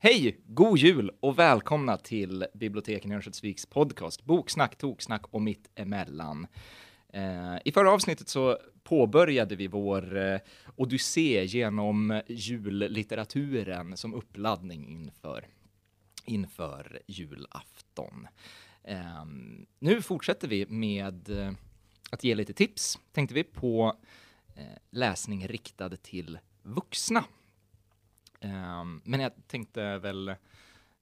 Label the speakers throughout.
Speaker 1: Hej, god jul och välkomna till Biblioteken i Örnsköldsviks podcast Boksnack, toksnack och mitt emellan. Eh, I förra avsnittet så påbörjade vi vår eh, odyssé genom jullitteraturen som uppladdning inför, inför julafton. Eh, nu fortsätter vi med eh, att ge lite tips, tänkte vi, på eh, läsning riktad till vuxna. Ehm, men jag tänkte väl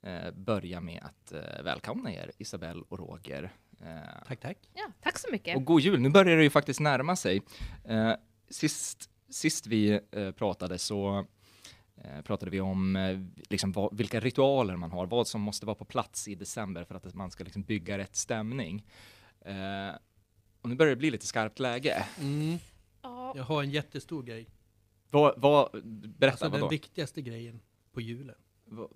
Speaker 1: eh, börja med att eh, välkomna er, Isabel och Roger. Eh,
Speaker 2: Tack, tack.
Speaker 3: Ja, tack så mycket.
Speaker 1: och god jul! Nu börjar det ju faktiskt närma sig. Eh, sist, sist vi eh, pratade så eh, pratade vi om eh, liksom vad, vilka ritualer man har, vad som måste vara på plats i december för att man ska liksom bygga rätt stämning. Eh, och nu börjar det bli lite skarpt läge.
Speaker 3: Ja.
Speaker 2: Mm. Jag har en jättestor grej.
Speaker 1: Vad, vad, berätta,
Speaker 2: alltså den
Speaker 1: vadå?
Speaker 2: viktigaste grejen på julen.
Speaker 1: vadå?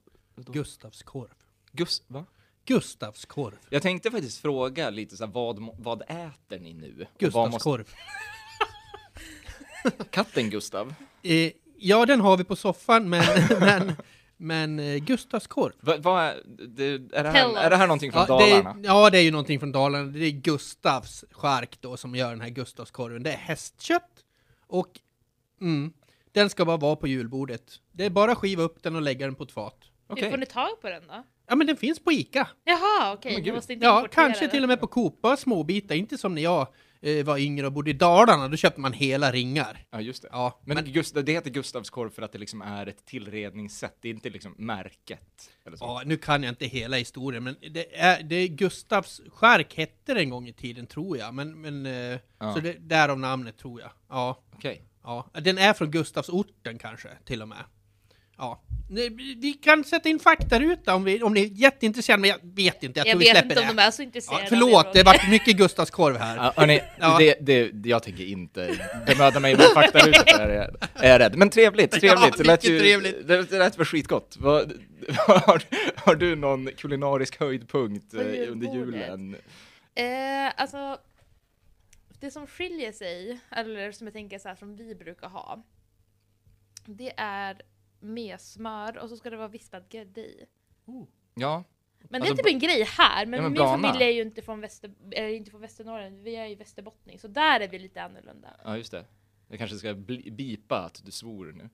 Speaker 2: Gustavs korv.
Speaker 1: Gus, va?
Speaker 2: Gustavs korv.
Speaker 1: Jag tänkte faktiskt fråga lite så här, vad, må- vad äter ni nu? Och vad
Speaker 2: Gustavs
Speaker 1: måste-
Speaker 2: korv.
Speaker 1: Katten Gustav?
Speaker 2: Eh, ja, den har vi på soffan, men, men, men eh, Gustavs korv.
Speaker 1: Va, vad är, det, är, det
Speaker 3: Tell
Speaker 1: här, är det här
Speaker 3: us.
Speaker 1: någonting från
Speaker 2: Ja det,
Speaker 1: Dalarna?
Speaker 2: är, ja, det är ju någonting från Dalarna. Det är Gustavs chark då som gör den här Gustavskorven. Det är hästkött och mm, den ska bara vara på julbordet. Det är bara att skiva upp den och lägga den på ett fat.
Speaker 3: Hur
Speaker 1: Okej.
Speaker 3: Typ, får ni tag på den då?
Speaker 2: Ja, men den finns på Ica.
Speaker 3: Jaha,
Speaker 1: Men
Speaker 3: okej.
Speaker 1: gud.
Speaker 3: ni måste inte
Speaker 2: Ja,
Speaker 3: importera
Speaker 2: kanske
Speaker 3: den.
Speaker 2: till och med på Coop, bara småbitar. Inte som när jag eh, var yngre och bodde i Dalarna, då köpte man hela ringar.
Speaker 1: Ja, just det.
Speaker 2: Ja,
Speaker 1: Men,
Speaker 2: men,
Speaker 1: Gustav, det heter Gustavskorv för att det liksom är ett tillredningssätt, det är inte liksom märket. Eller så.
Speaker 2: ja, nu kan jag inte hela historien, men det är, det är Gustavs skärk hette det en gång i tiden, tror jag. Men, men eh,
Speaker 1: Ja.
Speaker 2: så det, därav namnet, tror jag. Ja,
Speaker 1: Okej.
Speaker 2: ja. Den är från Gustavsorten kanske, till och med. Ja, Ni- vi kan sätta in faktaruta om, vi, om ni är jätteintresserade, men jag vet inte, jag,
Speaker 3: Jag,
Speaker 2: tror vi
Speaker 3: vet
Speaker 2: släpper
Speaker 3: inte om de
Speaker 2: det.
Speaker 3: är så intresserade.
Speaker 2: Ja,
Speaker 3: av
Speaker 2: förlåt, det
Speaker 3: Roger.
Speaker 2: vart mycket Gustavskorv här.
Speaker 1: Ja, hörni,
Speaker 2: Ja.
Speaker 1: det, det, jag tänker inte bemöda mig med faktarutor, är, jag- är jag rädd. Men trevligt, trevligt. det, lät
Speaker 2: mycket trevligt.
Speaker 1: Det, det lät väl skitgott. Vad, har, har du någon kulinarisk höjdpunkt eh,
Speaker 3: På
Speaker 1: under
Speaker 3: julbordet?
Speaker 1: julen?
Speaker 3: Eh, alltså, det som skiljer sig, eller som jag tänker så här som vi brukar ha, det är med smör och så ska det vara vispad grädde i.
Speaker 1: Ja,
Speaker 3: Men
Speaker 1: Alltså,
Speaker 3: det är typ en grej här, men,
Speaker 1: Ja, men
Speaker 3: min
Speaker 1: Blana.
Speaker 3: familj är ju inte från, Väster, är inte från Västernorrland, vi är ju västerbottning, så där är vi lite annorlunda.
Speaker 1: ja just det. Jag kanske ska bli- bipa att du svor nu.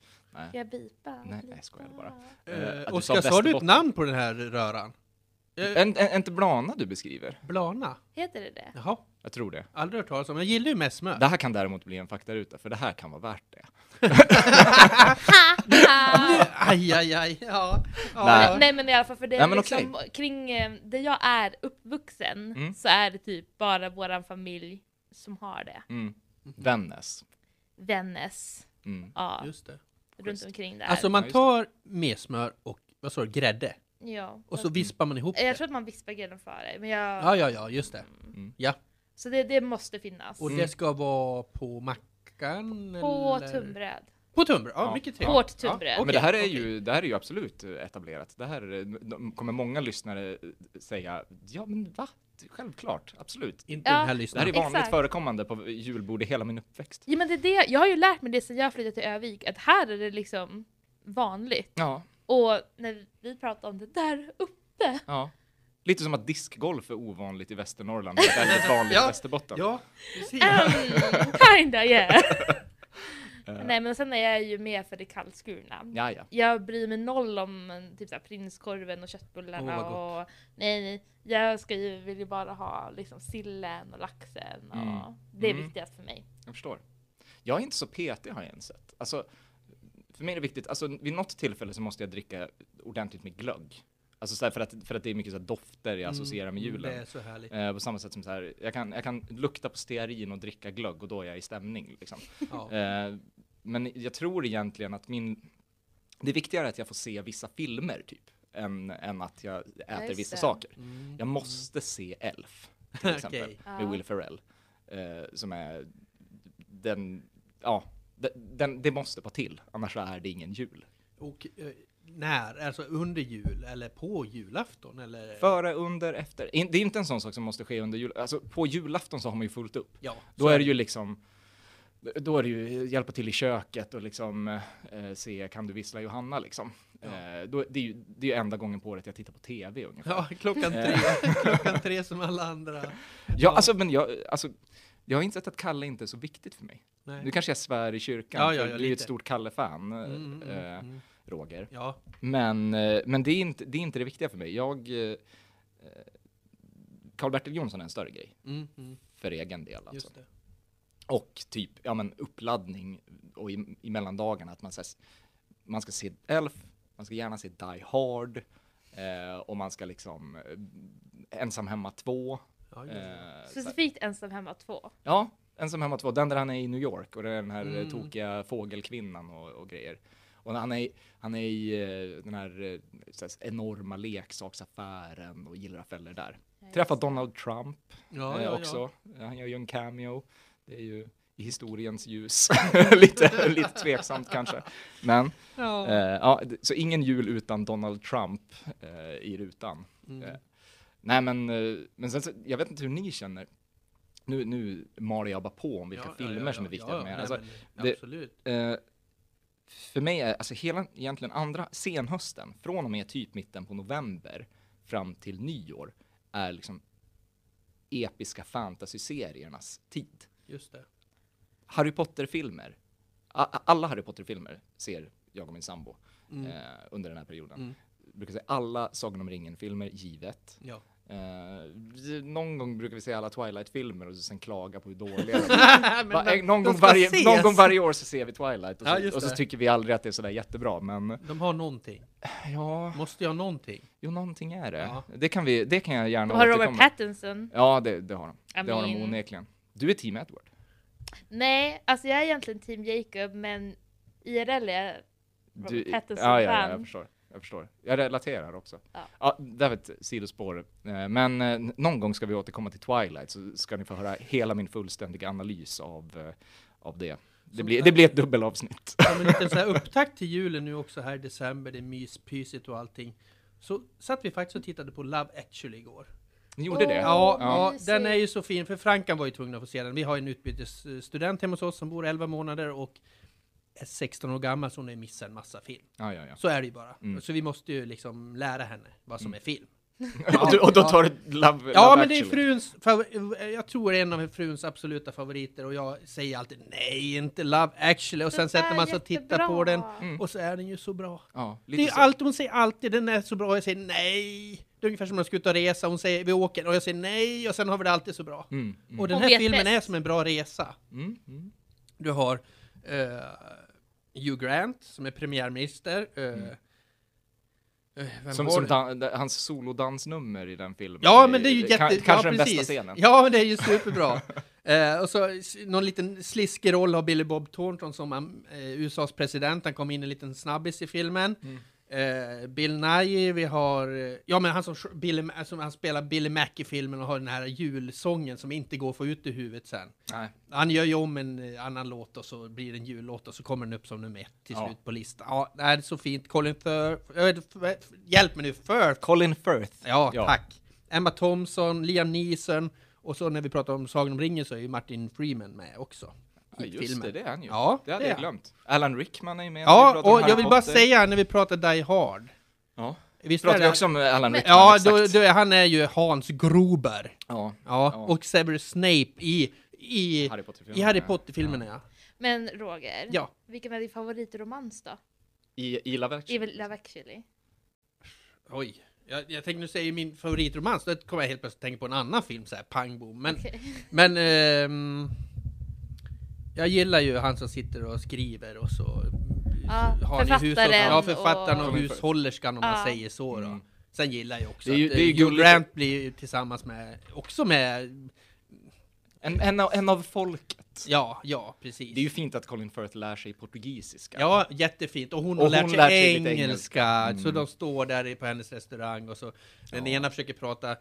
Speaker 3: Ska jag bipa?
Speaker 1: Nej,
Speaker 3: Bipa.
Speaker 1: jag skojar bara. Eh,
Speaker 2: Eh,
Speaker 1: att du sa
Speaker 2: Oskar, sa du ett
Speaker 1: Västerbotten.
Speaker 2: namn på den här röran? Eh.
Speaker 1: Är en, en, inte Blana du beskriver?
Speaker 2: Blana?
Speaker 3: Heter det det?
Speaker 2: Jaha,
Speaker 1: Jag tror det.
Speaker 2: aldrig hört talas om. Jag gillar ju mest smör.
Speaker 1: Det här kan däremot bli en faktaruta, för det här kan vara värt det.
Speaker 3: Ah!
Speaker 2: Aj, aj, aj. Ja. ja.
Speaker 1: Nej.
Speaker 3: Nej men i alla fall för det
Speaker 1: Nej,
Speaker 3: är
Speaker 1: men
Speaker 3: liksom, kring eh, där jag är uppvuxen
Speaker 1: Mm.
Speaker 3: så är det typ bara våran familj som har det.
Speaker 1: Mm. Vännäs.
Speaker 3: Vännäs,
Speaker 1: Mm.
Speaker 3: ja,
Speaker 2: Just det.
Speaker 3: runt omkring där.
Speaker 2: Alltså
Speaker 1: Ja,
Speaker 2: man
Speaker 1: just det.
Speaker 2: tar med smör och vad sa du, grädde
Speaker 3: ja.
Speaker 2: och så vispar man ihop
Speaker 3: Eh, Jag
Speaker 2: det.
Speaker 3: tror att man vispar grädden före, men jag...
Speaker 2: Ja, ja, ja, just det.
Speaker 1: Mm.
Speaker 3: Så det, det måste finnas.
Speaker 2: Och det ska vara på mackan?
Speaker 3: På
Speaker 2: eller?
Speaker 3: tunnbröd.
Speaker 2: På tunnbröd, ja,
Speaker 1: Ja.
Speaker 2: mycket
Speaker 3: Ja.
Speaker 2: trevligt.
Speaker 3: Hårt tunnbröd.
Speaker 1: Men det här, är
Speaker 2: okej.
Speaker 1: ju, det här är ju absolut eh, etablerat. Det här eh, de- kommer många lyssnare eh, säga, ja men va? Självklart, absolut.
Speaker 2: Inte
Speaker 3: Ja.
Speaker 1: Det
Speaker 2: den här
Speaker 1: här är
Speaker 2: lyssnaren.
Speaker 1: vanligt
Speaker 3: Exakt.
Speaker 1: förekommande på julbord i hela min uppväxt.
Speaker 3: Ja men det är det, jag har ju lärt mig det sedan jag flyttade till Övik, att här är det liksom vanligt.
Speaker 1: Ja,
Speaker 3: Och när vi pratar om det där uppe,
Speaker 1: ja. Lite som att diskgolf är ovanligt i Västernorrland, men det är väldigt vanligt i
Speaker 2: Ja.
Speaker 1: Västerbotten.
Speaker 2: Ja, precis.
Speaker 3: Mm, kinda yeah. Nej men sen är jag ju med för det kallskurna.
Speaker 1: Ja, ja.
Speaker 3: Jag bryr mig noll om eh, typ så här, prinskorven och köttbullarna
Speaker 2: Åh, vad
Speaker 3: och nej, nej. jag ska ju, vill ju bara ha liksom sillen och laxen och
Speaker 1: Mm.
Speaker 3: det är
Speaker 1: Mm.
Speaker 3: viktigast för mig.
Speaker 1: Jag förstår. Jag är inte så petig har jag insett. Alltså, för mig är det viktigt, alltså vid något tillfälle så måste jag dricka ordentligt med glögg. Alltså så här för, att, för att det är mycket så här dofter jag associerar med
Speaker 2: Mm,
Speaker 1: julen.
Speaker 2: Det är så härligt.
Speaker 1: Eh, på samma sätt som så här, jag kan, jag kan lukta på stearin och dricka glögg och då är jag i stämning. Liksom.
Speaker 2: Ja.
Speaker 1: Eh, men jag tror egentligen att min... Det är viktigare att jag får se vissa filmer typ, än, än att jag äter
Speaker 3: just
Speaker 1: vissa
Speaker 3: det.
Speaker 1: saker.
Speaker 2: Mm.
Speaker 1: Jag måste se Elf, till exempel,
Speaker 2: Okej.
Speaker 1: med Will Ferrell. Eh, som är den... Ja, de- den, det måste vara till, annars så är det ingen jul.
Speaker 2: Och eh, när? Alltså under jul eller på julafton? Eller?
Speaker 1: Före, under, efter. In, det är inte en sån sak som måste ske under jul. Alltså på julafton så har man ju fullt upp.
Speaker 2: Ja,
Speaker 1: Då
Speaker 2: så
Speaker 1: är det ju liksom, då är det ju hjälpa till i köket och liksom eh, se, kan du vissla Johanna liksom? Eh, då, det är ju det är ju enda gången på året jag tittar på tv ungefär.
Speaker 2: Ja, klockan tre.
Speaker 1: Eh.
Speaker 2: klockan tre som alla andra.
Speaker 1: Ja, alltså, men jag, alltså, jag har insett att Kalle inte är så viktigt för mig. Nu
Speaker 2: Nej.
Speaker 1: kanske jag svär i kyrkan,
Speaker 2: Ja,
Speaker 1: för
Speaker 2: ja, ja,
Speaker 1: jag blir ju ett
Speaker 2: lite.
Speaker 1: stort Kalle-fan, eh,
Speaker 2: Mm, mm,
Speaker 1: eh,
Speaker 2: mm.
Speaker 1: Roger.
Speaker 2: Ja,
Speaker 1: Men, eh, men det, är inte, det är inte det viktiga för mig. Jag... eh, Karl-Bertil Jonsson är en större grej,
Speaker 2: mm, mm,
Speaker 1: för egen del alltså.
Speaker 2: just det.
Speaker 1: Och typ, ja men uppladdning och i, i mellandagarna, att man, så här, s- man ska se Elf, man ska gärna se Die Hard, eh, och man ska liksom eh, Ensam Hemma 2.
Speaker 2: Ja,
Speaker 1: Eh,
Speaker 2: just det.
Speaker 1: så här-
Speaker 3: Specifikt Ensam Hemma 2.
Speaker 1: Ja, Ensam hemma 2. Den där han är i New York och det är den här mm.
Speaker 2: Mm.
Speaker 1: tokiga fågelkvinnan och, och grejer. Och han är, i- han är i eh, den här eh, så här enorma leksaksaffären och gillar affärer där. Träffar Donald Trump
Speaker 2: ja,
Speaker 1: eh,
Speaker 2: ja,
Speaker 1: också. Han gör ju en cameo. Det är ju i historiens ljus. lite, lite tveksamt kanske. Men
Speaker 2: Ja.
Speaker 1: eh, ja, d- så ingen jul utan Donald Trump eh, i rutan.
Speaker 2: Mm.
Speaker 1: Eh, nej, men, eh, men sen, så, jag vet inte hur ni känner. Nu, nu maler jag bara på om vilka
Speaker 2: Ja, ja,
Speaker 1: filmer
Speaker 2: ja,
Speaker 1: som är
Speaker 2: ja,
Speaker 1: viktiga
Speaker 2: ja,
Speaker 1: för mig.
Speaker 2: nej,
Speaker 1: Alltså,
Speaker 2: men,
Speaker 1: det-
Speaker 2: absolut.
Speaker 1: eh, för mig är alltså hela, egentligen andra senhösten, från och med typ mitten på november fram till nyår, är liksom episka fantasyseriernas tid.
Speaker 2: Just det.
Speaker 1: Harry Potter-filmer, A- alla Harry Potter-filmer ser jag och min sambo
Speaker 2: Mm.
Speaker 1: eh, under den här perioden.
Speaker 2: Mm.
Speaker 1: Brukar säga alla Sagan om ringen-filmer, givet.
Speaker 2: Ja.
Speaker 1: Eh, vi- någon gång brukar vi se alla Twilight-filmer och sen klaga på hur dåliga de är. Va- eh, någon, gång varje, någon gång varje år så ser vi Twilight och så,
Speaker 2: Ja, just
Speaker 1: och så
Speaker 2: det.
Speaker 1: tycker vi aldrig att det är sådär jättebra, men eh,
Speaker 2: De har någonting.
Speaker 1: ja,
Speaker 2: Måste jag någonting?
Speaker 1: jo någonting är det.
Speaker 2: Ja.
Speaker 1: Det, kan vi, det kan jag gärna
Speaker 3: De har Robert
Speaker 1: återkomma
Speaker 3: Pattinson.
Speaker 1: Ja, det, det har de.
Speaker 3: I
Speaker 1: det har de
Speaker 3: mean-
Speaker 1: onekligen. Du är team Edward.
Speaker 3: Nej, alltså jag är egentligen team Jacob men IRL är
Speaker 1: Du,
Speaker 3: Robert Pattinson
Speaker 1: ja, ja, jag
Speaker 3: fan.
Speaker 1: förstår. Jag förstår. Jag relaterar också.
Speaker 3: Ja.
Speaker 1: Ja, det här var ett sidospår. Eh, Men eh, n- någon gång ska vi återkomma till Twilight så ska ni få höra hela min fullständiga analys av, eh, av det. Det
Speaker 2: Sånt
Speaker 1: blir,
Speaker 2: där.
Speaker 1: det blir ett dubbelavsnitt.
Speaker 2: Som en liten så här upptakt till julen nu också här i december, det är myspysigt och allting. Så satt vi faktiskt och tittade på Love actually igår.
Speaker 1: Ni gjorde det?
Speaker 2: Ja,
Speaker 3: Ja.
Speaker 2: ja, den är ju så fin, för Frankan var ju tvungen att få se den. Vi har en utbytesstudent hemma hos oss som bor 11 månader och är 16 år gammal, så hon har ju missat en massa film.
Speaker 1: ja, ja, ja.
Speaker 2: Så är det ju bara.
Speaker 1: Mm.
Speaker 2: Så vi måste ju liksom lära henne vad som är film.
Speaker 1: och, du, och då tar du Love, love
Speaker 2: Ja, men det är
Speaker 1: actually.
Speaker 2: fruns, favor- jag tror det är en av fruns absoluta favoriter och jag säger alltid nej, inte Love actually och sen sätter man sig och tittar på den
Speaker 1: Mm.
Speaker 2: och så är den ju så bra.
Speaker 1: Ja, lite
Speaker 2: Det är ju
Speaker 1: så.
Speaker 2: allt hon säger alltid, den är så bra, och jag säger nej. Det är ungefär som när jag ska ut och resa, hon säger vi åker och jag säger nej och sen har vi det alltid så bra.
Speaker 1: Mm, mm,
Speaker 2: Och den
Speaker 3: Hon
Speaker 2: här
Speaker 3: vet
Speaker 2: filmen
Speaker 3: bäst.
Speaker 2: är som en bra resa.
Speaker 1: mm, mm.
Speaker 2: Du har eh, Hugh Grant som är premiärminister. eh, eh, vem
Speaker 1: Mm. Som,
Speaker 2: har
Speaker 1: som
Speaker 2: du?
Speaker 1: dan, hans solodansnummer i den filmen.
Speaker 2: Ja, men det är ju jätte...
Speaker 1: Ka-
Speaker 2: ja,
Speaker 1: Kanske den
Speaker 2: precis.
Speaker 1: bästa scenen.
Speaker 2: Ja, men det är ju superbra. Eh, och så s- någon liten sliskig roll har Billy Bob Thornton som eh, USAs president. Han kom in en liten snabbis i filmen.
Speaker 1: Mm.
Speaker 2: Eh, Bill Nye, vi har... eh, Ja, men han som, sj- Billy, Ma- som han spelar Billy Mac i filmen och har den här julsången som inte går att få ut i huvudet sen.
Speaker 1: Nej.
Speaker 2: Han gör ju om en eh, annan låt och så blir det en jullåt och så kommer den upp som nummer ett till
Speaker 1: Ja.
Speaker 2: slut på listan. Ja, det här är så fint. Colin Firth... eh, f- Hjälp mig nu, Firth!
Speaker 1: Colin Firth.
Speaker 2: Ja,
Speaker 1: Ja.
Speaker 2: tack. Emma Thompson, Liam Neeson och så när vi pratar om Sagan om ringen så är ju Martin Freeman med också.
Speaker 1: Ja, just det, det är han ju.
Speaker 2: Ja,
Speaker 1: det hade jag
Speaker 2: är han.
Speaker 1: glömt. Alan Rickman är med. Vi
Speaker 2: Ja,
Speaker 1: pratar om
Speaker 2: och
Speaker 1: Harry
Speaker 2: jag vill bara
Speaker 1: Potter.
Speaker 2: säga när vi pratar Die Hard.
Speaker 1: Ja.
Speaker 2: Visst är
Speaker 1: Pratar vi
Speaker 2: det-
Speaker 1: också om eh, Alan Rickman?
Speaker 2: Ja,
Speaker 1: exakt.
Speaker 2: då, då, är- han är ju Hans Gruber.
Speaker 1: ja.
Speaker 2: Ja,
Speaker 1: Ja.
Speaker 2: och Severus Snape i, i,
Speaker 1: Harry Potter-filmen.
Speaker 2: i Harry Potter-filmerna ja.
Speaker 3: Men Roger,
Speaker 2: Ja.
Speaker 3: vilken är din favoritromans då?
Speaker 1: I, i Love
Speaker 3: I
Speaker 1: actually.
Speaker 3: Love actually?
Speaker 2: Oj. Jag, jag tänkte nu säger min favoritromans, då kommer jag helt plötsligt tänka på en annan film så här, pang bom. Men,
Speaker 3: Okej.
Speaker 2: men ehm, jag gillar ju han som sitter och skriver och så
Speaker 3: Ja,
Speaker 2: så har han ju
Speaker 3: författaren
Speaker 2: hushåll- ja, författaren och,
Speaker 1: och-
Speaker 2: hushållerskan om
Speaker 3: Ja.
Speaker 2: man säger så då.
Speaker 1: Mm.
Speaker 2: Sen gillar jag också
Speaker 1: Det är ju-
Speaker 2: att
Speaker 1: det är ju
Speaker 2: eh, Hugh
Speaker 1: gulligt.
Speaker 2: Grant blir ju tillsammans med, också med,
Speaker 1: En, en, av, en av folket.
Speaker 2: ja, ja precis.
Speaker 1: Det är ju fint att Colin Firth lär sig portugisiska.
Speaker 2: Ja, jättefint. Och hon
Speaker 1: Och
Speaker 2: har lärt
Speaker 1: hon
Speaker 2: sig,
Speaker 1: lärt sig lite
Speaker 2: engelska,
Speaker 1: engelska.
Speaker 2: så
Speaker 1: Mm.
Speaker 2: de står där i- på hennes restaurang och så den
Speaker 1: Ja.
Speaker 2: ena försöker prata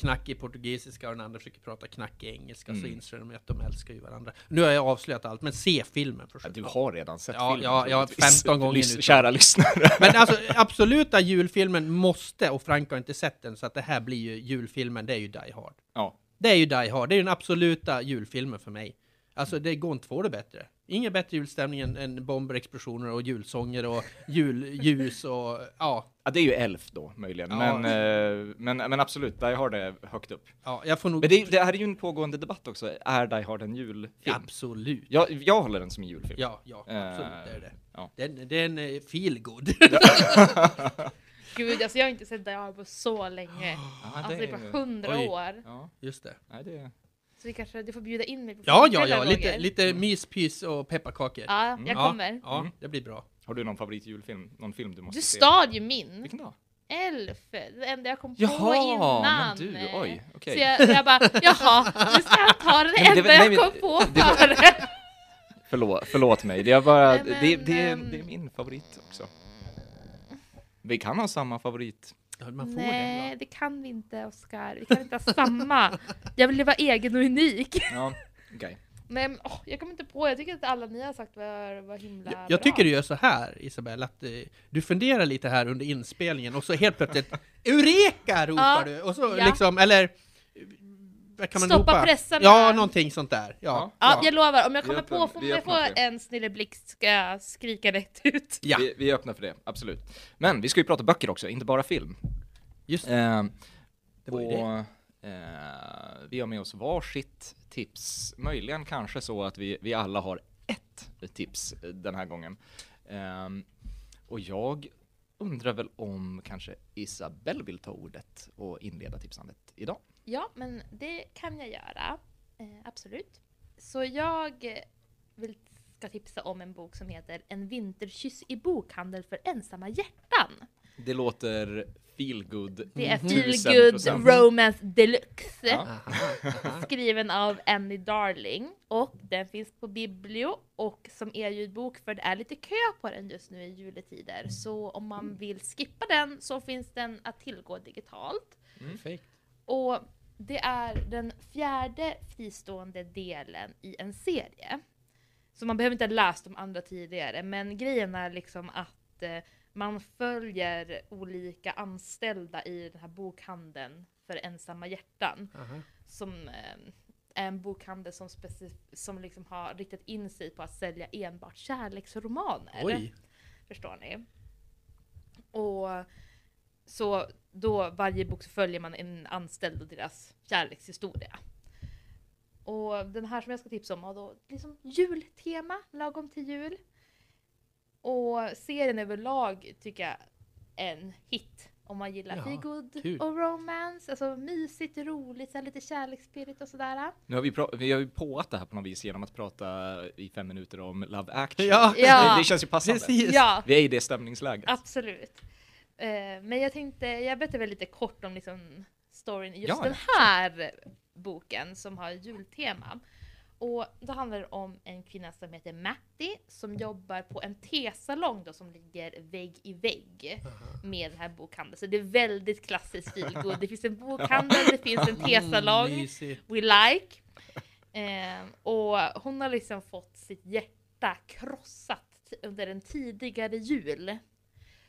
Speaker 2: knackig portugisiska och den andra försöker prata knackig engelska, så
Speaker 1: Mm.
Speaker 2: inser de att de älskar ju varandra. Nu har jag avslöjat allt, men se filmen först.
Speaker 1: Ja, Du har redan sett
Speaker 2: Ja,
Speaker 1: filmen.
Speaker 2: ja, ja,
Speaker 1: troligtvis.
Speaker 2: 15 gånger
Speaker 1: Lys-
Speaker 2: nu.
Speaker 1: Kära lyssnare.
Speaker 2: Men alltså, absoluta julfilmen måste, och Frank har inte sett den, så att det här blir ju julfilmen, det är ju Die Hard.
Speaker 1: Ja.
Speaker 2: Det är ju Die Hard, det är ju den absoluta julfilmen för mig. Alltså, det går inte att få det bättre. Ingen bättre julstämning än, än bomber, explosioner och julsånger och julljus och ja,
Speaker 1: Ja, det är ju Elf då möjligen,
Speaker 2: Ja.
Speaker 1: men, eh, men, men absolut, Die Hard är högt upp.
Speaker 2: ja jag får nog...
Speaker 1: Men det, det här är ju en pågående debatt också, är Die Hard en julfilm?
Speaker 2: Absolut.
Speaker 1: Jag, jag håller den som en julfilm.
Speaker 2: Ja, ja, absolut
Speaker 1: Eh,
Speaker 2: det är det.
Speaker 1: ja.
Speaker 2: Den, den är eh, feel good.
Speaker 3: Gud, alltså jag har inte sett Die Hard på så länge.
Speaker 1: Ja,
Speaker 3: Alltså det är
Speaker 1: ju-
Speaker 3: bara hundra
Speaker 2: Oj.
Speaker 3: år.
Speaker 1: Ja,
Speaker 2: Just det.
Speaker 1: nej, det är...
Speaker 3: Så vi kanske, du får bjuda in mig på
Speaker 2: Ja, ja,
Speaker 3: filmkvällar
Speaker 2: ja, lite,
Speaker 3: Roger.
Speaker 2: lite myspys och pepparkakor.
Speaker 3: Ja,
Speaker 1: Mm.
Speaker 3: jag
Speaker 2: Ja,
Speaker 3: kommer.
Speaker 2: Ja,
Speaker 1: Mm.
Speaker 2: det blir bra.
Speaker 1: Har du någon favoritjulfilm? Någon film du måste
Speaker 3: Du
Speaker 1: se?
Speaker 3: stal ju min!
Speaker 1: Vilken då?
Speaker 3: Elf! Det enda jag kom på
Speaker 1: Jaha,
Speaker 3: innan.
Speaker 1: men du, oj, okej.
Speaker 3: Så jag, jag bara, jaha, nu ska han ta den
Speaker 1: Nej, men det-
Speaker 3: enda jag
Speaker 1: nej, men-
Speaker 3: kom på före!
Speaker 1: Förlåt, förlåt mig, det är, bara,
Speaker 3: Nej, men,
Speaker 1: det, det, är,
Speaker 3: ehm,
Speaker 1: det är min favorit också. Vi kan ha samma favorit.
Speaker 2: Ja, Man får
Speaker 3: Nej,
Speaker 2: det.
Speaker 3: det kan vi inte Oskar. Vi kan inte ha samma. Jag vill vara egen och unik.
Speaker 1: Ja, okej.
Speaker 3: Nej, men, åh, jag kommer inte på, jag tycker att alla ni har sagt var, var himla
Speaker 2: Jag, jag
Speaker 3: bra.
Speaker 2: tycker du gör så här, Isabel, att eh, du funderar lite här under inspelningen och så helt plötsligt Eureka ropar
Speaker 3: Ja,
Speaker 2: du! Och så
Speaker 3: ja.
Speaker 2: liksom, eller eh, vad kan man
Speaker 3: Stoppa
Speaker 2: ropa?
Speaker 3: pressarna.
Speaker 2: Ja, någonting sånt där. Ja,
Speaker 1: Ja.
Speaker 3: Ja, jag lovar, om jag
Speaker 1: Vi
Speaker 3: kommer
Speaker 1: öppnar-
Speaker 3: på, får
Speaker 1: vi
Speaker 3: jag
Speaker 1: öppnar
Speaker 3: få
Speaker 1: för det.
Speaker 3: en snilleblixt ska jag skrika rätt ut.
Speaker 2: ja.
Speaker 1: Vi, vi är öppna för det, absolut. Men vi ska ju prata böcker också, inte bara film.
Speaker 2: just
Speaker 1: Ehm,
Speaker 2: det. Var ju
Speaker 1: och,
Speaker 2: det.
Speaker 1: eh, vi har med oss varsitt tips, möjligen kanske så att vi, vi alla har ett tips eh, den här gången. Ehm, och jag undrar väl om kanske Isabelle vill ta ordet och inleda tipsandet idag.
Speaker 3: Ja, men det kan jag göra. Eh, absolut. Så jag eh, vill, ska tipsa om en bok som heter En vinterkyss i bokhandel för ensamma hjärtan.
Speaker 1: Det låter feel good.
Speaker 3: Det är
Speaker 1: Mhm.
Speaker 3: Feel
Speaker 1: 1000%.
Speaker 3: Good Romance Deluxe.
Speaker 1: Ja.
Speaker 3: Skriven av Annie Darling. Och den finns på Biblio och som e-ljudbok för det är lite kö på den just nu i juletider. Så om man vill skippa den så finns den att tillgå digitalt.
Speaker 2: Perfekt.
Speaker 3: Och det är den fjärde fristående delen i en serie. Så man behöver inte ha läst de andra tidigare, men grejen är liksom att eh, man följer olika anställda i den här bokhandeln för ensamma hjärtan.
Speaker 2: Aha.
Speaker 3: Som eh, är en bokhandel som, specif- som liksom har riktat in sig på att sälja enbart kärleksromaner
Speaker 2: Oj.
Speaker 3: förstår ni. Och så då varje bok så följer man en anställd och deras kärlekshistoria. Och den här som jag ska tipsa om har då liksom jultema lagom till jul. Och serien överlag tycker jag är en hit om man gillar
Speaker 2: Ja,
Speaker 3: feel good
Speaker 2: kul.
Speaker 3: och romance, alltså mysigt, roligt, så här lite kärleksspirit och sådär.
Speaker 1: Nu har vi, pra- vi har ju påat det här på något vis genom att prata i fem minuter om Love action.
Speaker 2: Ja.
Speaker 3: Ja.
Speaker 1: Det, det känns ju passande.
Speaker 2: Precis.
Speaker 3: Ja,
Speaker 1: Vi är i det stämningsläget.
Speaker 3: Absolut. Eh, men jag tänkte, jag berättar väl lite kort om liksom storyn i just
Speaker 1: Ja,
Speaker 3: den här boken som har jultema. Och då handlar det om en kvinna som heter Matti som jobbar på en tesalong då som ligger vägg i vägg med den här bokhandeln. Så det är väldigt klassiskt feelgood. Det finns en bokhandel, det finns en tesalong.
Speaker 2: Mm, mysigt.
Speaker 3: We like. Eh, och hon har liksom fått sitt hjärta krossat t- under en tidigare jul.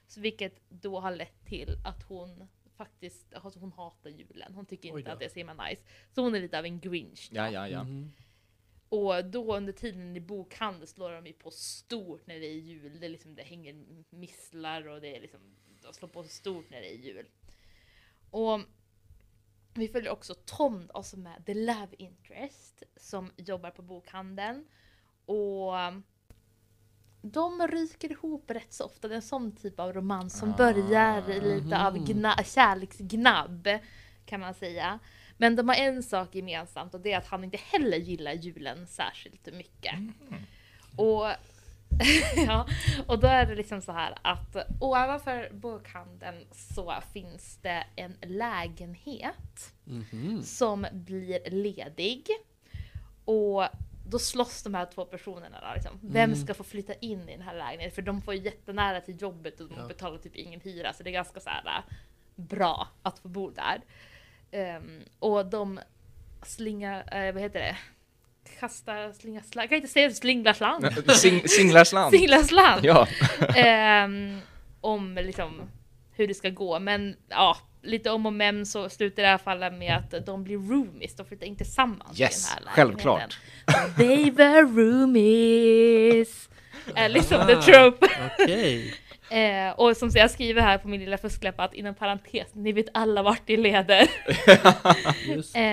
Speaker 3: Så vilket då har lett till att hon faktiskt, alltså hon hatar julen. Hon tycker
Speaker 2: Oj då.
Speaker 3: inte att det är så himla nice. Så hon är lite av en grinch.
Speaker 1: Ja, ja, ja.
Speaker 2: Mhm.
Speaker 3: Och då under tiden i bokhandeln slår de ju på stort när det är jul. Det, är liksom, det hänger misslar och det är liksom, de slår på stort när det är jul. Och vi följer också Tom då, som är the love interest som jobbar på bokhandeln. Och de ryker ihop rätt så ofta. Det är en sån typ av romans som
Speaker 1: Ah.
Speaker 3: börjar i lite av gna- kärleksgnabb kan man säga. Men de har en sak gemensamt och det är att han inte heller gillar julen särskilt mycket. Och, ja, och då är det liksom så här att ovanför bokhandeln så finns det en lägenhet
Speaker 2: Mhm.
Speaker 3: som blir ledig. Och då slåss de här två personerna då, liksom. Vem
Speaker 2: Mm.
Speaker 3: ska få flytta in i den här lägenheten? För de får ju jättenära till jobbet och de
Speaker 2: Ja.
Speaker 3: betalar typ ingen hyra så det är ganska så här äh, bra att få bo där. Ehm, och de slingar, eh, vad heter det? Kastar, slingar, slang. Jag kan inte säga slinglar slang.
Speaker 1: eh, Sing, singlar slant.
Speaker 3: Singlar slang
Speaker 1: Ja.
Speaker 3: ehm, om liksom hur det ska gå. Men ja, lite om och men så slutar det här fallet med att de blir roomies, de flyttar inte tillsammans
Speaker 1: Yes,
Speaker 3: i den här
Speaker 1: självklart.
Speaker 3: lägenheten. They were roomies! Är liksom the trope.
Speaker 2: Okej.
Speaker 3: Eh, och som jag skriver här på min lilla fusklapp att inom parentes, ni vet alla vart det leder.
Speaker 2: Just.
Speaker 3: Eh,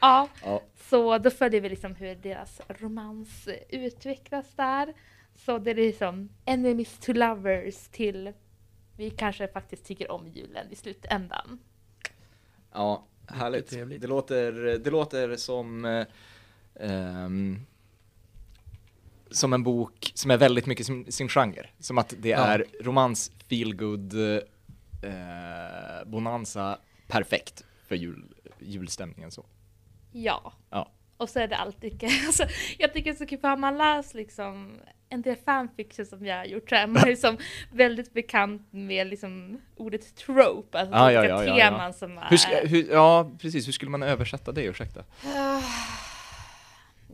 Speaker 3: ja,
Speaker 1: Ja.
Speaker 3: så då följer vi liksom hur deras romans utvecklas där. Så det är liksom enemies to lovers till vi kanske faktiskt tycker om julen i slutändan.
Speaker 1: Ja, härligt.
Speaker 2: trevligt.
Speaker 1: Det låter, det låter som, eh, ehm, som en bok som är väldigt mycket sin, sin genre. Som att det
Speaker 2: Ja.
Speaker 1: är romans, feel good, eh, bonanza, perfekt för jul, julstämningen. Så.
Speaker 3: Ja.
Speaker 1: Ja.
Speaker 3: Och så är det alltid, alltså, jag tycker det är så kul för har man läst liksom en del fanfiction som jag har gjort så är man liksom väldigt bekant med liksom ordet trope, alltså
Speaker 1: Ah, Ja, ja,
Speaker 3: olika
Speaker 1: ja, ja, ja.
Speaker 3: teman som är...
Speaker 1: Hur, ska- hur, ja, precis. Hur skulle man översätta det? Ursäkta.
Speaker 3: Ah.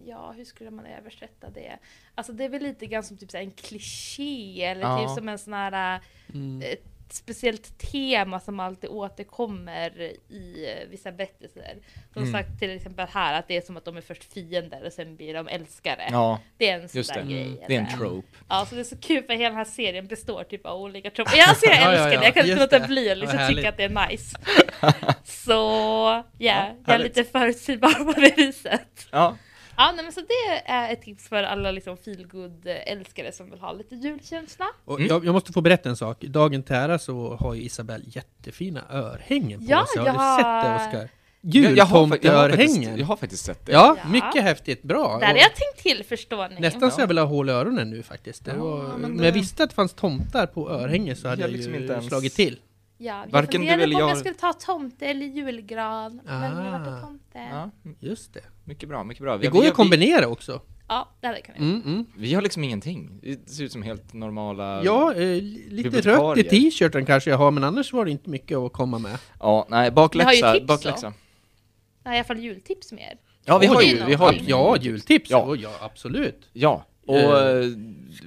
Speaker 3: Ja, hur skulle man översätta det? Alltså det är väl lite grann som typ så här en kliché eller
Speaker 1: Ja.
Speaker 3: typ som en sån här
Speaker 2: Mm.
Speaker 3: eh, ett speciellt tema som alltid återkommer i eh, vissa berättelser. Som
Speaker 1: Mm.
Speaker 3: sagt till exempel här att det är som att de är först fiender och sen blir de älskare.
Speaker 1: Ja,
Speaker 3: Det är en sån
Speaker 1: Just
Speaker 3: där
Speaker 1: det. Mm.
Speaker 3: grej.
Speaker 1: det är en
Speaker 3: eller?
Speaker 1: trope.
Speaker 3: Ja, så det är så kul för hela den här serien består typ av olika troper. Ja, alltså jag
Speaker 2: Ja, ja,
Speaker 3: älskar
Speaker 2: ja.
Speaker 3: det, jag kan inte
Speaker 2: Just
Speaker 3: låta
Speaker 2: det.
Speaker 3: bli att
Speaker 2: Vad
Speaker 3: liksom
Speaker 2: härligt.
Speaker 3: tycka att det är nice. Så ja, jag är
Speaker 1: härligt.
Speaker 3: lite förutsägbar på det viset.
Speaker 1: Ja,
Speaker 3: Ja, nej, men så det är ett tips för alla liksom feelgood älskare som vill ha lite julkänsla.
Speaker 2: Och
Speaker 1: Mm.
Speaker 2: jag, jag måste få berätta en sak. Dagen till ära så har ju Isabelle jättefina örhängen på
Speaker 3: Ja,
Speaker 2: sig. Har
Speaker 3: jag-
Speaker 2: du sett det Oskar?
Speaker 1: jag, jag, har, fa- jag, har faktiskt,
Speaker 2: Jultomteörhängen!
Speaker 1: jag har faktiskt sett det.
Speaker 2: Ja,
Speaker 3: Ja.
Speaker 2: mycket häftigt. Bra!
Speaker 3: Där
Speaker 2: Och
Speaker 3: är jag tänkt till förstår ni.
Speaker 2: Nästan
Speaker 1: Ja.
Speaker 2: så jag vill ha hål i öronen nu faktiskt. Det
Speaker 1: Ja,
Speaker 2: var,
Speaker 1: men
Speaker 2: om
Speaker 1: det-
Speaker 2: jag visste att det fanns tomtar på örhängen så hade
Speaker 1: Jag
Speaker 2: jag,
Speaker 1: liksom
Speaker 2: ju
Speaker 1: inte ens-
Speaker 2: slagit till.
Speaker 3: Ja, jag
Speaker 1: Varken du
Speaker 3: funderade
Speaker 1: eller
Speaker 3: på om
Speaker 1: jag-
Speaker 3: jag skulle ta tomte eller julgran. Men jag var
Speaker 2: Ah.
Speaker 3: på tomte. Ja,
Speaker 1: Ja,
Speaker 2: Just det.
Speaker 1: mycket bra, mycket bra.
Speaker 2: Det går ju att
Speaker 1: vi,
Speaker 2: kombinera också.
Speaker 3: det hade jag kunnat göra.
Speaker 2: Mm, mm.
Speaker 1: vi har liksom ingenting. Det ser ut som helt normala...
Speaker 2: Ja, eh, lite rött i
Speaker 1: bibliotekarier.
Speaker 2: t-shirten kanske jag har, men annars var det inte mycket att komma med.
Speaker 1: Ja, nej,
Speaker 3: Vi har
Speaker 1: bakläxa.
Speaker 3: ju tips
Speaker 1: bakläxa.
Speaker 3: Det här är i alla fall jultips med er.
Speaker 1: Ja, vi
Speaker 2: Oj,
Speaker 1: har ju, vi har ju.
Speaker 2: Ja, jultips!
Speaker 1: Ja.
Speaker 2: Ja, ja absolut!
Speaker 1: Ja, och
Speaker 2: Eh,
Speaker 1: eh,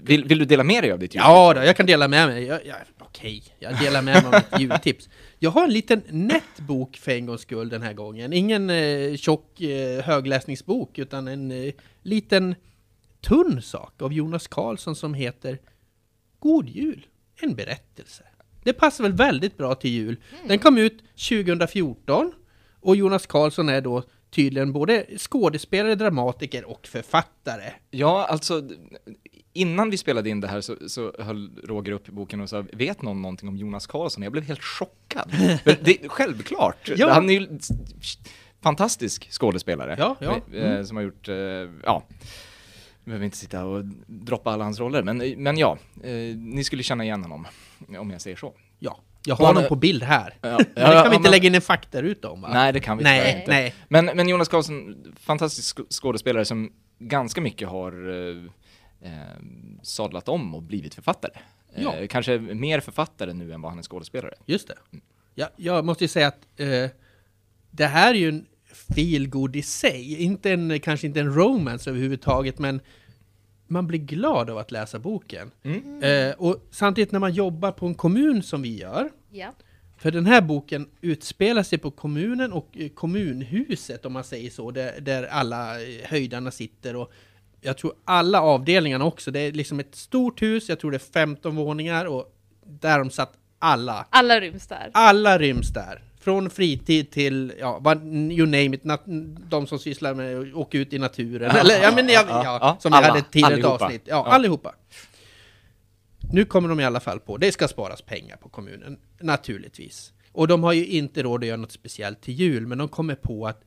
Speaker 1: vill, vill du dela med dig av ditt
Speaker 2: Ja, då, jag kan dela med mig. Jag, jag, okej, jag delar med mig av mitt jultips. Jag har en liten nätt bok för en gångs skull den här gången. Ingen eh, tjock eh, högläsningsbok, utan en eh, liten tunn sak av Jonas Karlsson som heter God Jul, en berättelse. Det passar väl väldigt bra till jul. Den kom ut 2014 och Jonas Karlsson är då tydligen både skådespelare, dramatiker och författare.
Speaker 1: Ja, alltså d- innan vi spelade in det här så, så höll Roger upp boken och sa vet någon någonting om Jonas Karlsson? Jag blev helt chockad. Men det, är självklart!
Speaker 2: Ja.
Speaker 1: Han är ju s- fantastisk skådespelare.
Speaker 2: Ja, ja. Mm.
Speaker 1: Eh, Som har gjort, eh, ja. Vi behöver inte sitta och droppa alla hans roller, men, men ja, eh, ni skulle känna igen honom om jag säger så.
Speaker 2: Ja, jag har
Speaker 1: Man,
Speaker 2: honom
Speaker 1: eh,
Speaker 2: på bild här.
Speaker 1: Ja,
Speaker 2: Men det
Speaker 1: ja,
Speaker 2: kan vi
Speaker 1: ja,
Speaker 2: inte
Speaker 1: men-
Speaker 2: lägga in en faktaruta om va?
Speaker 1: Nej, det kan vi
Speaker 2: nej,
Speaker 1: tyvärr inte.
Speaker 2: nej.
Speaker 1: Men, men Jonas Karlsson, fantastisk sk- skådespelare som ganska mycket har eh, eh, sadlat om och blivit författare.
Speaker 2: Ja.
Speaker 1: Eh, kanske mer författare nu än vad han är skådespelare.
Speaker 2: Just det. Ja, jag måste ju säga att eh, det här är ju en feelgood i sig. Inte en, kanske inte en romance överhuvudtaget, men man blir glad av att läsa boken.
Speaker 1: Mm.
Speaker 2: Eh, och samtidigt när man jobbar på en kommun som vi gör,
Speaker 3: Ja.
Speaker 2: För den här boken utspelar sig på kommunen och eh, kommunhuset om man säger så, där, där alla eh, höjdarna sitter och jag tror alla avdelningarna också. Det är liksom ett stort hus, jag tror det är 15 våningar och där de satt alla.
Speaker 3: Alla ryms där.
Speaker 2: Alla ryms där. Från fritid till, ja, vad- you name it, nat- de som sysslar med att åka ut i naturen. Eller, ja, men jag,
Speaker 1: Ja,
Speaker 2: ja,
Speaker 1: ja,
Speaker 2: som vi
Speaker 1: alla,
Speaker 2: hade till ett
Speaker 1: allihopa.
Speaker 2: avsnitt. Ja,
Speaker 1: Ja.
Speaker 2: allihopa. Nu kommer de i alla fall på, det ska sparas pengar på kommunen, naturligtvis. Och de har ju inte råd att göra något speciellt till jul, men de kommer på att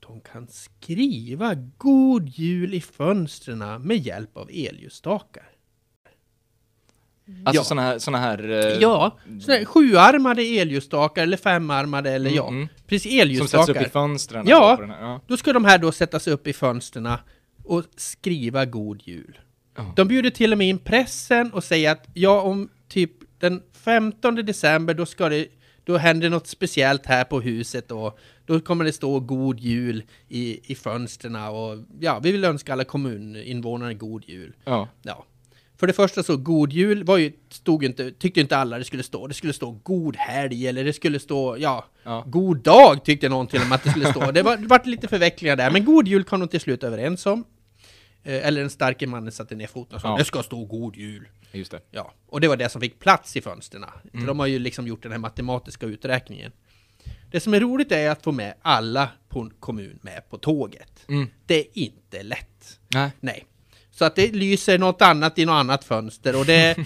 Speaker 2: de kan skriva God Jul i fönstren med hjälp av elljussstakar.
Speaker 1: Alltså
Speaker 2: Mm. Ja.
Speaker 1: sådana här... Såna här eh,
Speaker 2: Ja, sådana här sjuarmade elljusstakar eller femarmade eller
Speaker 1: Mm,
Speaker 2: ja,
Speaker 1: mm. som
Speaker 2: precis
Speaker 1: sätts upp i
Speaker 2: elljusstakar.
Speaker 1: fönstren.
Speaker 2: Ja.
Speaker 1: På den här. ja.
Speaker 2: Då ska de här då sättas upp i fönstren och skriva God Jul.
Speaker 1: Ja.
Speaker 2: De bjuder till och med in pressen och säger att ja, om typ den 15 december då ska det då händer något speciellt här på huset och då kommer det stå God Jul i, i fönstren och ja, vi vill önska alla kommuninvånare God Jul.
Speaker 1: Ja.
Speaker 2: Ja. För det första så, god jul var ju, stod ju inte, tyckte inte alla det skulle stå. Det skulle stå god helg, eller det skulle stå, ja,
Speaker 1: Ja.
Speaker 2: god dag tyckte någon till och med att det skulle stå. Det var, det vart lite förvecklingar där, men god jul kom de till slut överens om. Eh, eller den starke mannen satte ner foten och sa
Speaker 1: Ja.
Speaker 2: det ska stå god jul.
Speaker 1: Just det.
Speaker 2: Ja, och det var det som fick plats i fönstren.
Speaker 1: Mm.
Speaker 2: För de har ju liksom gjort den här matematiska uträkningen. Det som är roligt är att få med alla på en kommun med på tåget.
Speaker 1: Mm.
Speaker 2: Det är inte lätt.
Speaker 1: Nej.
Speaker 2: Nej. Så att det lyser något annat i något annat fönster och det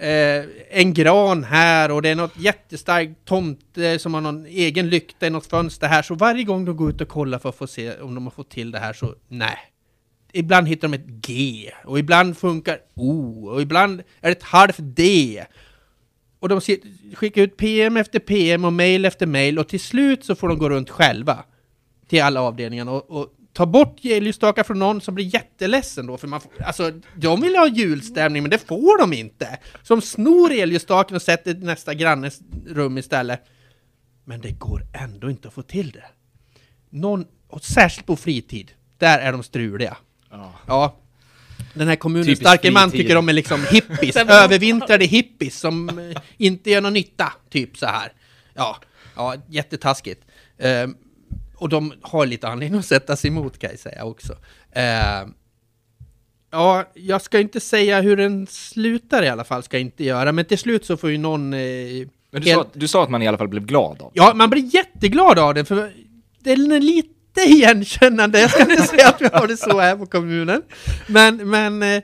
Speaker 2: är eh, en gran här och det är något jättestarkt tomte som har någon egen lykta i något fönster här. Så varje gång de går ut och kollar för att få se om de har fått till det här så nej. Ibland hittar de ett G och ibland funkar O och ibland är det ett halvt D. Och de sit- skickar ut PM efter PM och mail efter mail och till slut så får de gå runt själva till alla avdelningarna och, och ta bort ljusstakar från någon som blir jätteledsen då för man får, alltså de vill ha julstämning men det får de inte! Så de snor elljusstaken och sätter i nästa grannes rum istället. Men det går ändå inte att få till det. Någon, och särskilt på fritid, där är de struliga.
Speaker 1: Ja.
Speaker 2: Ja. Den här kommunens
Speaker 1: Typiskt
Speaker 2: starke man
Speaker 1: fritid.
Speaker 2: tycker de är liksom hippies, övervintrade hippies som eh, inte gör någon nytta, typ så här. Ja, ja jättetaskigt. Ehm, och de har lite anledning att sätta sig emot kan jag säga också. Ehm, ja, jag ska inte säga hur den slutar i alla fall, ska jag inte göra, men till slut så får ju någon... Eh,
Speaker 1: Men du,
Speaker 2: helt-
Speaker 1: sa, att- du sa att man i alla fall blev glad av det.
Speaker 2: Ja, man blir jätteglad av den, för den är lite igenkännande. Jag ska inte säga att vi har det så här på kommunen. Men, men... eh,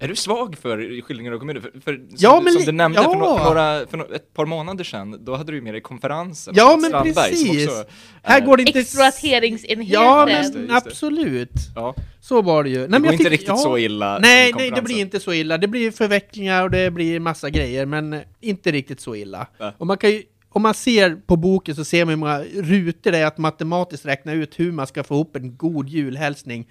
Speaker 1: Är du svag för skildringar av kommuner? För, för, som,
Speaker 2: Ja,
Speaker 1: du-
Speaker 2: men
Speaker 1: som
Speaker 2: li-
Speaker 1: du nämnde för,
Speaker 2: ja.
Speaker 1: no- några, för no- ett par månader sedan, då hade du ju med dig konferensen.
Speaker 2: Ja,
Speaker 1: om
Speaker 2: men
Speaker 1: Strandberg, som
Speaker 2: precis.
Speaker 1: också
Speaker 2: Här
Speaker 1: är-
Speaker 2: går det inte...
Speaker 3: Exploateringsenheten!
Speaker 2: Ja, men
Speaker 1: Just det, just det.
Speaker 2: absolut.
Speaker 1: Ja,
Speaker 2: Så var det ju. Nej,
Speaker 1: det
Speaker 2: men
Speaker 1: går
Speaker 2: jag
Speaker 1: inte
Speaker 2: tycker-
Speaker 1: riktigt
Speaker 2: ja.
Speaker 1: så illa
Speaker 2: Nej,
Speaker 1: i
Speaker 2: nej, det blir
Speaker 1: konferensen.
Speaker 2: inte så illa. Det blir förvecklingar och det blir massa grejer, men eh, inte riktigt så illa.
Speaker 1: Nej.
Speaker 2: Och man kan ju, om man ser på boken så ser man hur många rutor det är att matematiskt räkna ut hur man ska få ihop en god julhälsning.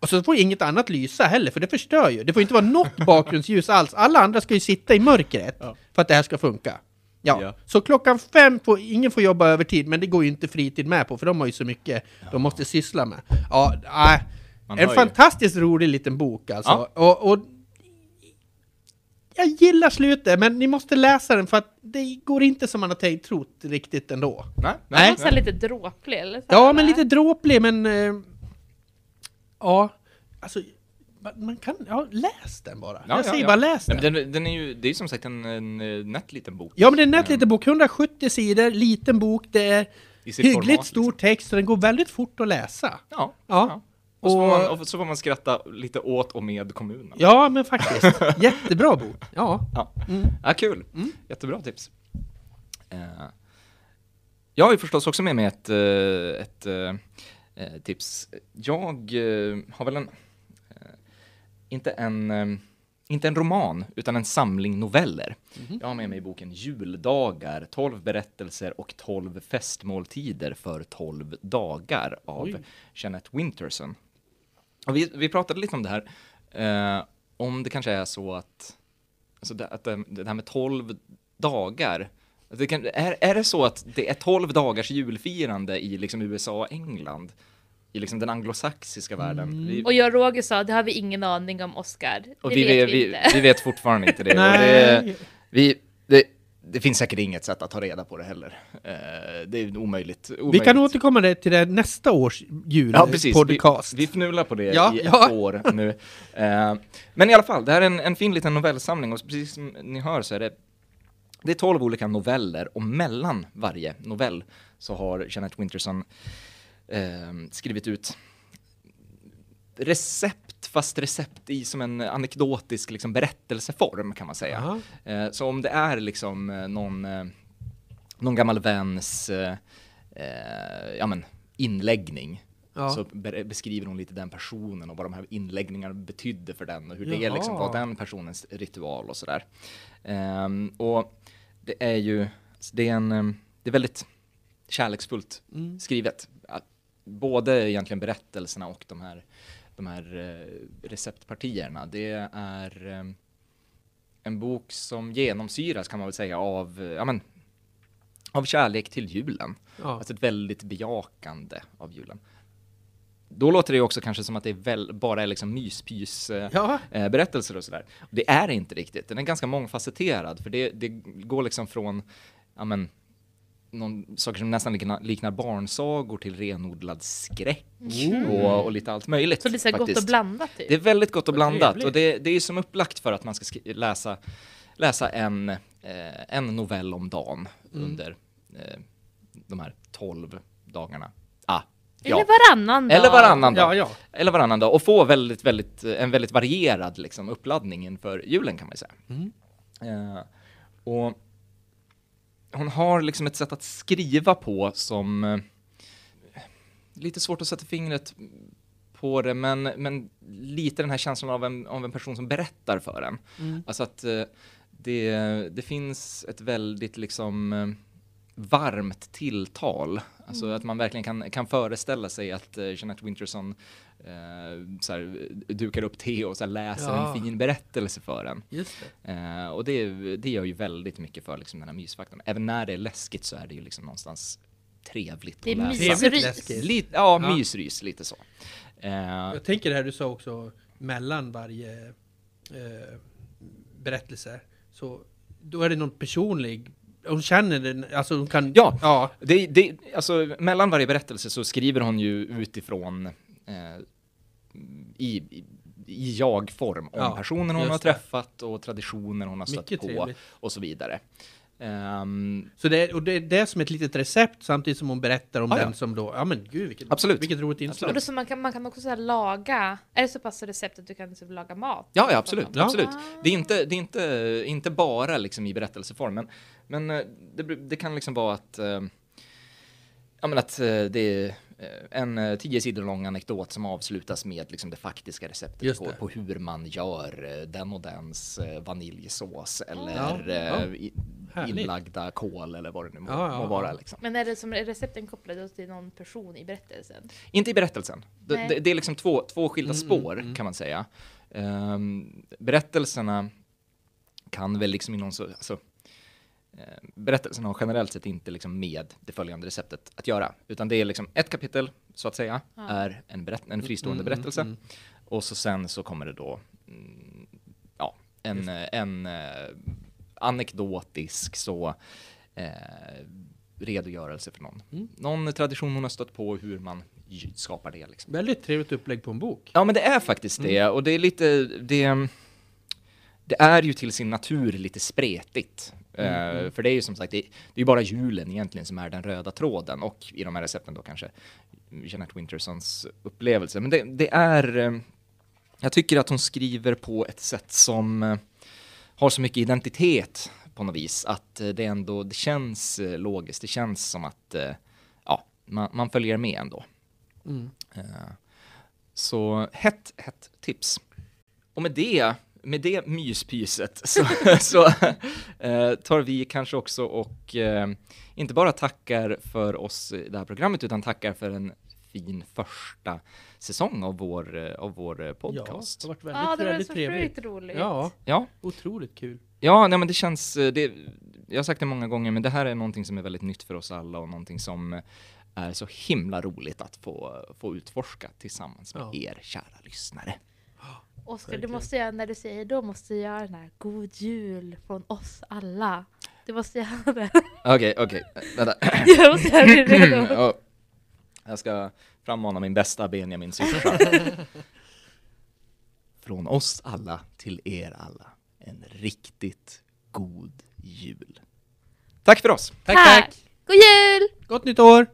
Speaker 2: Och så får inget annat lysa heller, för det förstör ju. Det får inte vara något bakgrundsljus alls. Alla andra ska ju sitta i mörkret
Speaker 1: Ja.
Speaker 2: för att det här ska funka. Ja.
Speaker 1: Ja.
Speaker 2: Så klockan fem, får, ingen får jobba övertid, men det går ju inte fritid med på, för de har ju så mycket de måste syssla med. Ja, nej.
Speaker 1: Man
Speaker 2: en
Speaker 1: hör ju.
Speaker 2: fantastiskt rolig liten bok alltså. Och, och jag gillar slutet, men ni måste läsa den för att det går inte som man har tänkt trott riktigt ändå.
Speaker 1: Nej,
Speaker 3: Den
Speaker 1: nej,
Speaker 3: är
Speaker 1: nej.
Speaker 3: också lite dråplig eller? så
Speaker 2: Ja,
Speaker 3: här,
Speaker 2: men
Speaker 3: va?
Speaker 2: lite dråplig, men... eh, ja, alltså... man- Man kan... Ja, läs den bara.
Speaker 1: Ja,
Speaker 2: jag
Speaker 1: ja,
Speaker 2: säger
Speaker 1: ja.
Speaker 2: bara läs den.
Speaker 1: Nej, men den, den är ju, det är ju som sagt en, en eh, nätt liten bok.
Speaker 2: Ja, men det är en nätt liten bok. 170 sidor, liten bok. Det är
Speaker 1: I Mm. sitt
Speaker 2: hyggligt
Speaker 1: format,
Speaker 2: stor
Speaker 1: liksom.
Speaker 2: text, så den går väldigt fort att läsa.
Speaker 1: Ja.
Speaker 2: Ja.
Speaker 1: Och, så får
Speaker 2: Och-
Speaker 1: man, och så får man skratta lite åt och med kommunen.
Speaker 2: Ja, men faktiskt. Jättebra bok. Ja.
Speaker 1: Ja, ja kul.
Speaker 2: Mm.
Speaker 1: Jättebra tips. Eh, jag har ju förstås också med mig ett, eh, ett eh, eh, tips. Jag eh, har väl en, eh, inte en, eh, inte en roman, utan en samling noveller.
Speaker 2: Mm.
Speaker 1: Jag har med mig boken Juldagar, 12 berättelser och 12 festmåltider för 12 dagar av
Speaker 2: Oj.
Speaker 1: Jeanette Winterson. Och vi, vi pratade lite om det här, eh, om det kanske är så att, alltså det, att det, det här med 12 dagar, att det kan, är, är det så att det är 12 dagars julfirande i liksom USA och England? I liksom den anglosaxiska världen. Vi,
Speaker 3: Och jag och Roger sa, det har vi ingen aning om Oscar. Det
Speaker 1: Typ. och vi,
Speaker 3: vet vi,
Speaker 1: vi, vi,
Speaker 3: inte.
Speaker 1: vi vet fortfarande inte det. Och det,
Speaker 2: Nej.
Speaker 1: vi, det, det finns säkert inget sätt att ta reda på det heller. Eh, det är omöjligt.
Speaker 2: Vi
Speaker 1: omöjligt.
Speaker 2: kan återkomma det- till det nästa års
Speaker 1: Ja, precis.
Speaker 2: julpodcast.
Speaker 1: Vi, vi fnular på det
Speaker 2: Ja,
Speaker 1: i ett
Speaker 2: ja.
Speaker 1: år nu. Eh, men i alla fall, det här är en, en fin liten novellsamling och precis som ni hör så är det det är tolv olika noveller och mellan varje novell så har Jeanette Winterson eh, skrivit ut recept, fast recept i som en anekdotisk liksom, berättelseform kan man säga.
Speaker 2: Aha.
Speaker 1: Eh, så om det är liksom eh, någon, eh, någon gammal väns eh, eh, ja, men, inläggning
Speaker 2: Ja.
Speaker 1: så be- beskriver hon lite den personen och vad de här inläggningarna betydde för den och hur det
Speaker 2: Jaha.
Speaker 1: liksom var den personens ritual och sådär. Ehm, och det är ju, det är en, ehm, det är väldigt kärleksfullt skrivet. Att både egentligen berättelserna och de här, de här eh, receptpartierna. Det är ehm, en bok som genomsyras kan man väl säga av, eh, ja men, av kärlek till julen.
Speaker 2: Ja.
Speaker 1: Alltså ett väldigt bejakande av julen. Då låter det ju också kanske som att det är väl, bara är liksom myspys eh,
Speaker 2: Ja.
Speaker 1: eh, berättelser och sådär. Och Det är det inte riktigt. Den är ganska mångfacetterad för det, det går liksom från ja, men, någon, saker som nästan liknar, liknar barnsagor till renodlad skräck och, och lite allt möjligt.
Speaker 3: Mm. Så det är så här gott
Speaker 1: faktiskt.
Speaker 3: och blandat typ.
Speaker 1: Det är väldigt gott och
Speaker 4: Vad
Speaker 1: blandat
Speaker 4: trevligt.
Speaker 1: och det, det är ju som upplagt för att man ska skri- läsa, läsa en, eh, en novell om dagen
Speaker 4: Mm.
Speaker 1: under eh, de här 12 dagarna. Ah, ja.
Speaker 3: Eller varannan dag.
Speaker 1: Eller varannan dag.
Speaker 2: Ja, ja.
Speaker 1: Eller varannan dag och få väldigt, väldigt, eh, en väldigt varierad liksom, uppladdning inför julen kan man ju säga. Eh, och hon har liksom ett sätt att skriva på som... Eh, lite svårt att sätta fingret på det, men, men lite den här känslan av en, av en person som berättar för en. Alltså att eh, det, det finns ett väldigt liksom eh, varmt tilltal. Alltså att man verkligen kan, kan föreställa sig att eh, Jeanette Winterson eh, så här, dukar upp te och så här, läser
Speaker 2: Ja.
Speaker 1: en fin berättelse för en.
Speaker 2: Just det.
Speaker 1: Eh, och det, det gör ju väldigt mycket för liksom, den här mysfaktorn. Även när det är läskigt så är det ju liksom någonstans trevligt
Speaker 3: Det är
Speaker 1: att läsa.
Speaker 2: mysigt.
Speaker 3: mysrys.
Speaker 2: läskigt.
Speaker 1: Lite, ja,
Speaker 2: Ja.
Speaker 1: mysrys, lite så. Eh,
Speaker 2: Jag tänker det här du sa också, mellan varje eh, berättelse, så då är det någon personlig, hon känner den, alltså hon kan...
Speaker 1: Ja.
Speaker 2: ja.
Speaker 1: Det, det, alltså, mellan varje berättelse så skriver hon ju utifrån eh, i, i- i jag-form om
Speaker 2: Ja,
Speaker 1: personer hon
Speaker 2: just
Speaker 1: har
Speaker 2: det.
Speaker 1: träffat och traditioner hon har stött
Speaker 2: Mycket
Speaker 1: på
Speaker 2: trevligt.
Speaker 1: och så vidare. Ehm,
Speaker 2: Så det, är- och det, är det är som ett litet recept samtidigt som hon berättar om
Speaker 1: Ja,
Speaker 2: den
Speaker 1: ja.
Speaker 2: som då, ja men gud vilket,
Speaker 1: Absolut.
Speaker 2: vilket roligt
Speaker 3: Och
Speaker 2: inslag.
Speaker 3: då så man, kan, man kan också så här laga, är det så pass recept att du kan typ laga mat?
Speaker 1: ja, ja, absolut.
Speaker 2: Ja.
Speaker 1: absolut. Det är inte, det är inte, inte bara liksom i berättelseform, men, men eh, det, bru- det kan liksom vara att, eh, ja, men att eh, det är eh, en eh, tio sidor lång anekdot som avslutas med liksom det faktiska receptet
Speaker 2: Just
Speaker 1: på,
Speaker 2: det.
Speaker 1: på hur man gör eh, den och dens eh, vaniljsås
Speaker 2: Ja,
Speaker 1: eller
Speaker 2: ja.
Speaker 1: eh, i-
Speaker 2: Härligt.
Speaker 1: inlagda kol eller vad det nu må,
Speaker 2: Ja, ja,
Speaker 1: må
Speaker 2: ja.
Speaker 1: vara. Liksom.
Speaker 3: Men är det som är recepten kopplade till någon person i berättelsen?
Speaker 1: Inte i berättelsen. Det,
Speaker 3: Nej.
Speaker 1: det, det är liksom två, två skilda spår kan man säga. Ehm, berättelserna kan väl liksom i någon så, alltså, eh, berättelserna har generellt sett inte liksom med det följande receptet att göra, utan det är liksom ett kapitel så att säga
Speaker 3: Ja.
Speaker 1: är en, berätt, en fristående
Speaker 2: Mm,
Speaker 1: berättelse och så sen så kommer det då mm, ja, en, eh, en eh, anekdotisk så eh, redogörelse för någon. Någon tradition hon har stött på och hur man j- skapar det. Liksom.
Speaker 2: Väldigt trevligt upplägg på en bok.
Speaker 1: Ja, men det är faktiskt det. Och det är lite, det, det är ju till sin natur lite spretigt. Eh, För det är ju som sagt, det, det är ju bara julen egentligen som är den röda tråden och i de här recepten då kanske Jeanette Wintersons upplevelse. Men det, det är, eh, jag tycker att hon skriver på ett sätt som eh, har så mycket identitet på något vis att eh, det ändå, det känns eh, logiskt, det känns som att eh, ja, man, man följer med ändå.
Speaker 2: Mm.
Speaker 1: Eh, så hett, hett tips. Och med det, med det myspyset så, så eh, tar vi kanske också och eh, inte bara tackar för oss i det här programmet utan tackar för en fin första säsong av vår, eh, av vår eh, podcast.
Speaker 2: Ja, det har varit väldigt,
Speaker 3: Ja, det var
Speaker 2: väldigt
Speaker 3: så
Speaker 2: trevligt.
Speaker 3: sjukt roligt.
Speaker 2: Ja,
Speaker 1: Ja,
Speaker 2: otroligt kul.
Speaker 1: ja nej, men det känns, eh, det, jag har sagt det många gånger, men det här är någonting som är väldigt nytt för oss alla och någonting som eh, är så himla roligt att få, få utforska tillsammans med
Speaker 2: Ja.
Speaker 1: er kära lyssnare.
Speaker 3: Oskar, du
Speaker 2: Verkligen.
Speaker 3: måste göra, när du säger då måste jag göra den här God Jul från oss alla. Du måste göra det.
Speaker 1: Okej, okej, vänta.
Speaker 3: Jag måste göra det redo.
Speaker 1: Ja. Jag ska frammana min bästa Benjamin syrsa. Från oss alla till er alla, en riktigt god jul. Tack för oss!
Speaker 2: Tack, tack!
Speaker 3: God Jul!
Speaker 2: Gott nytt år!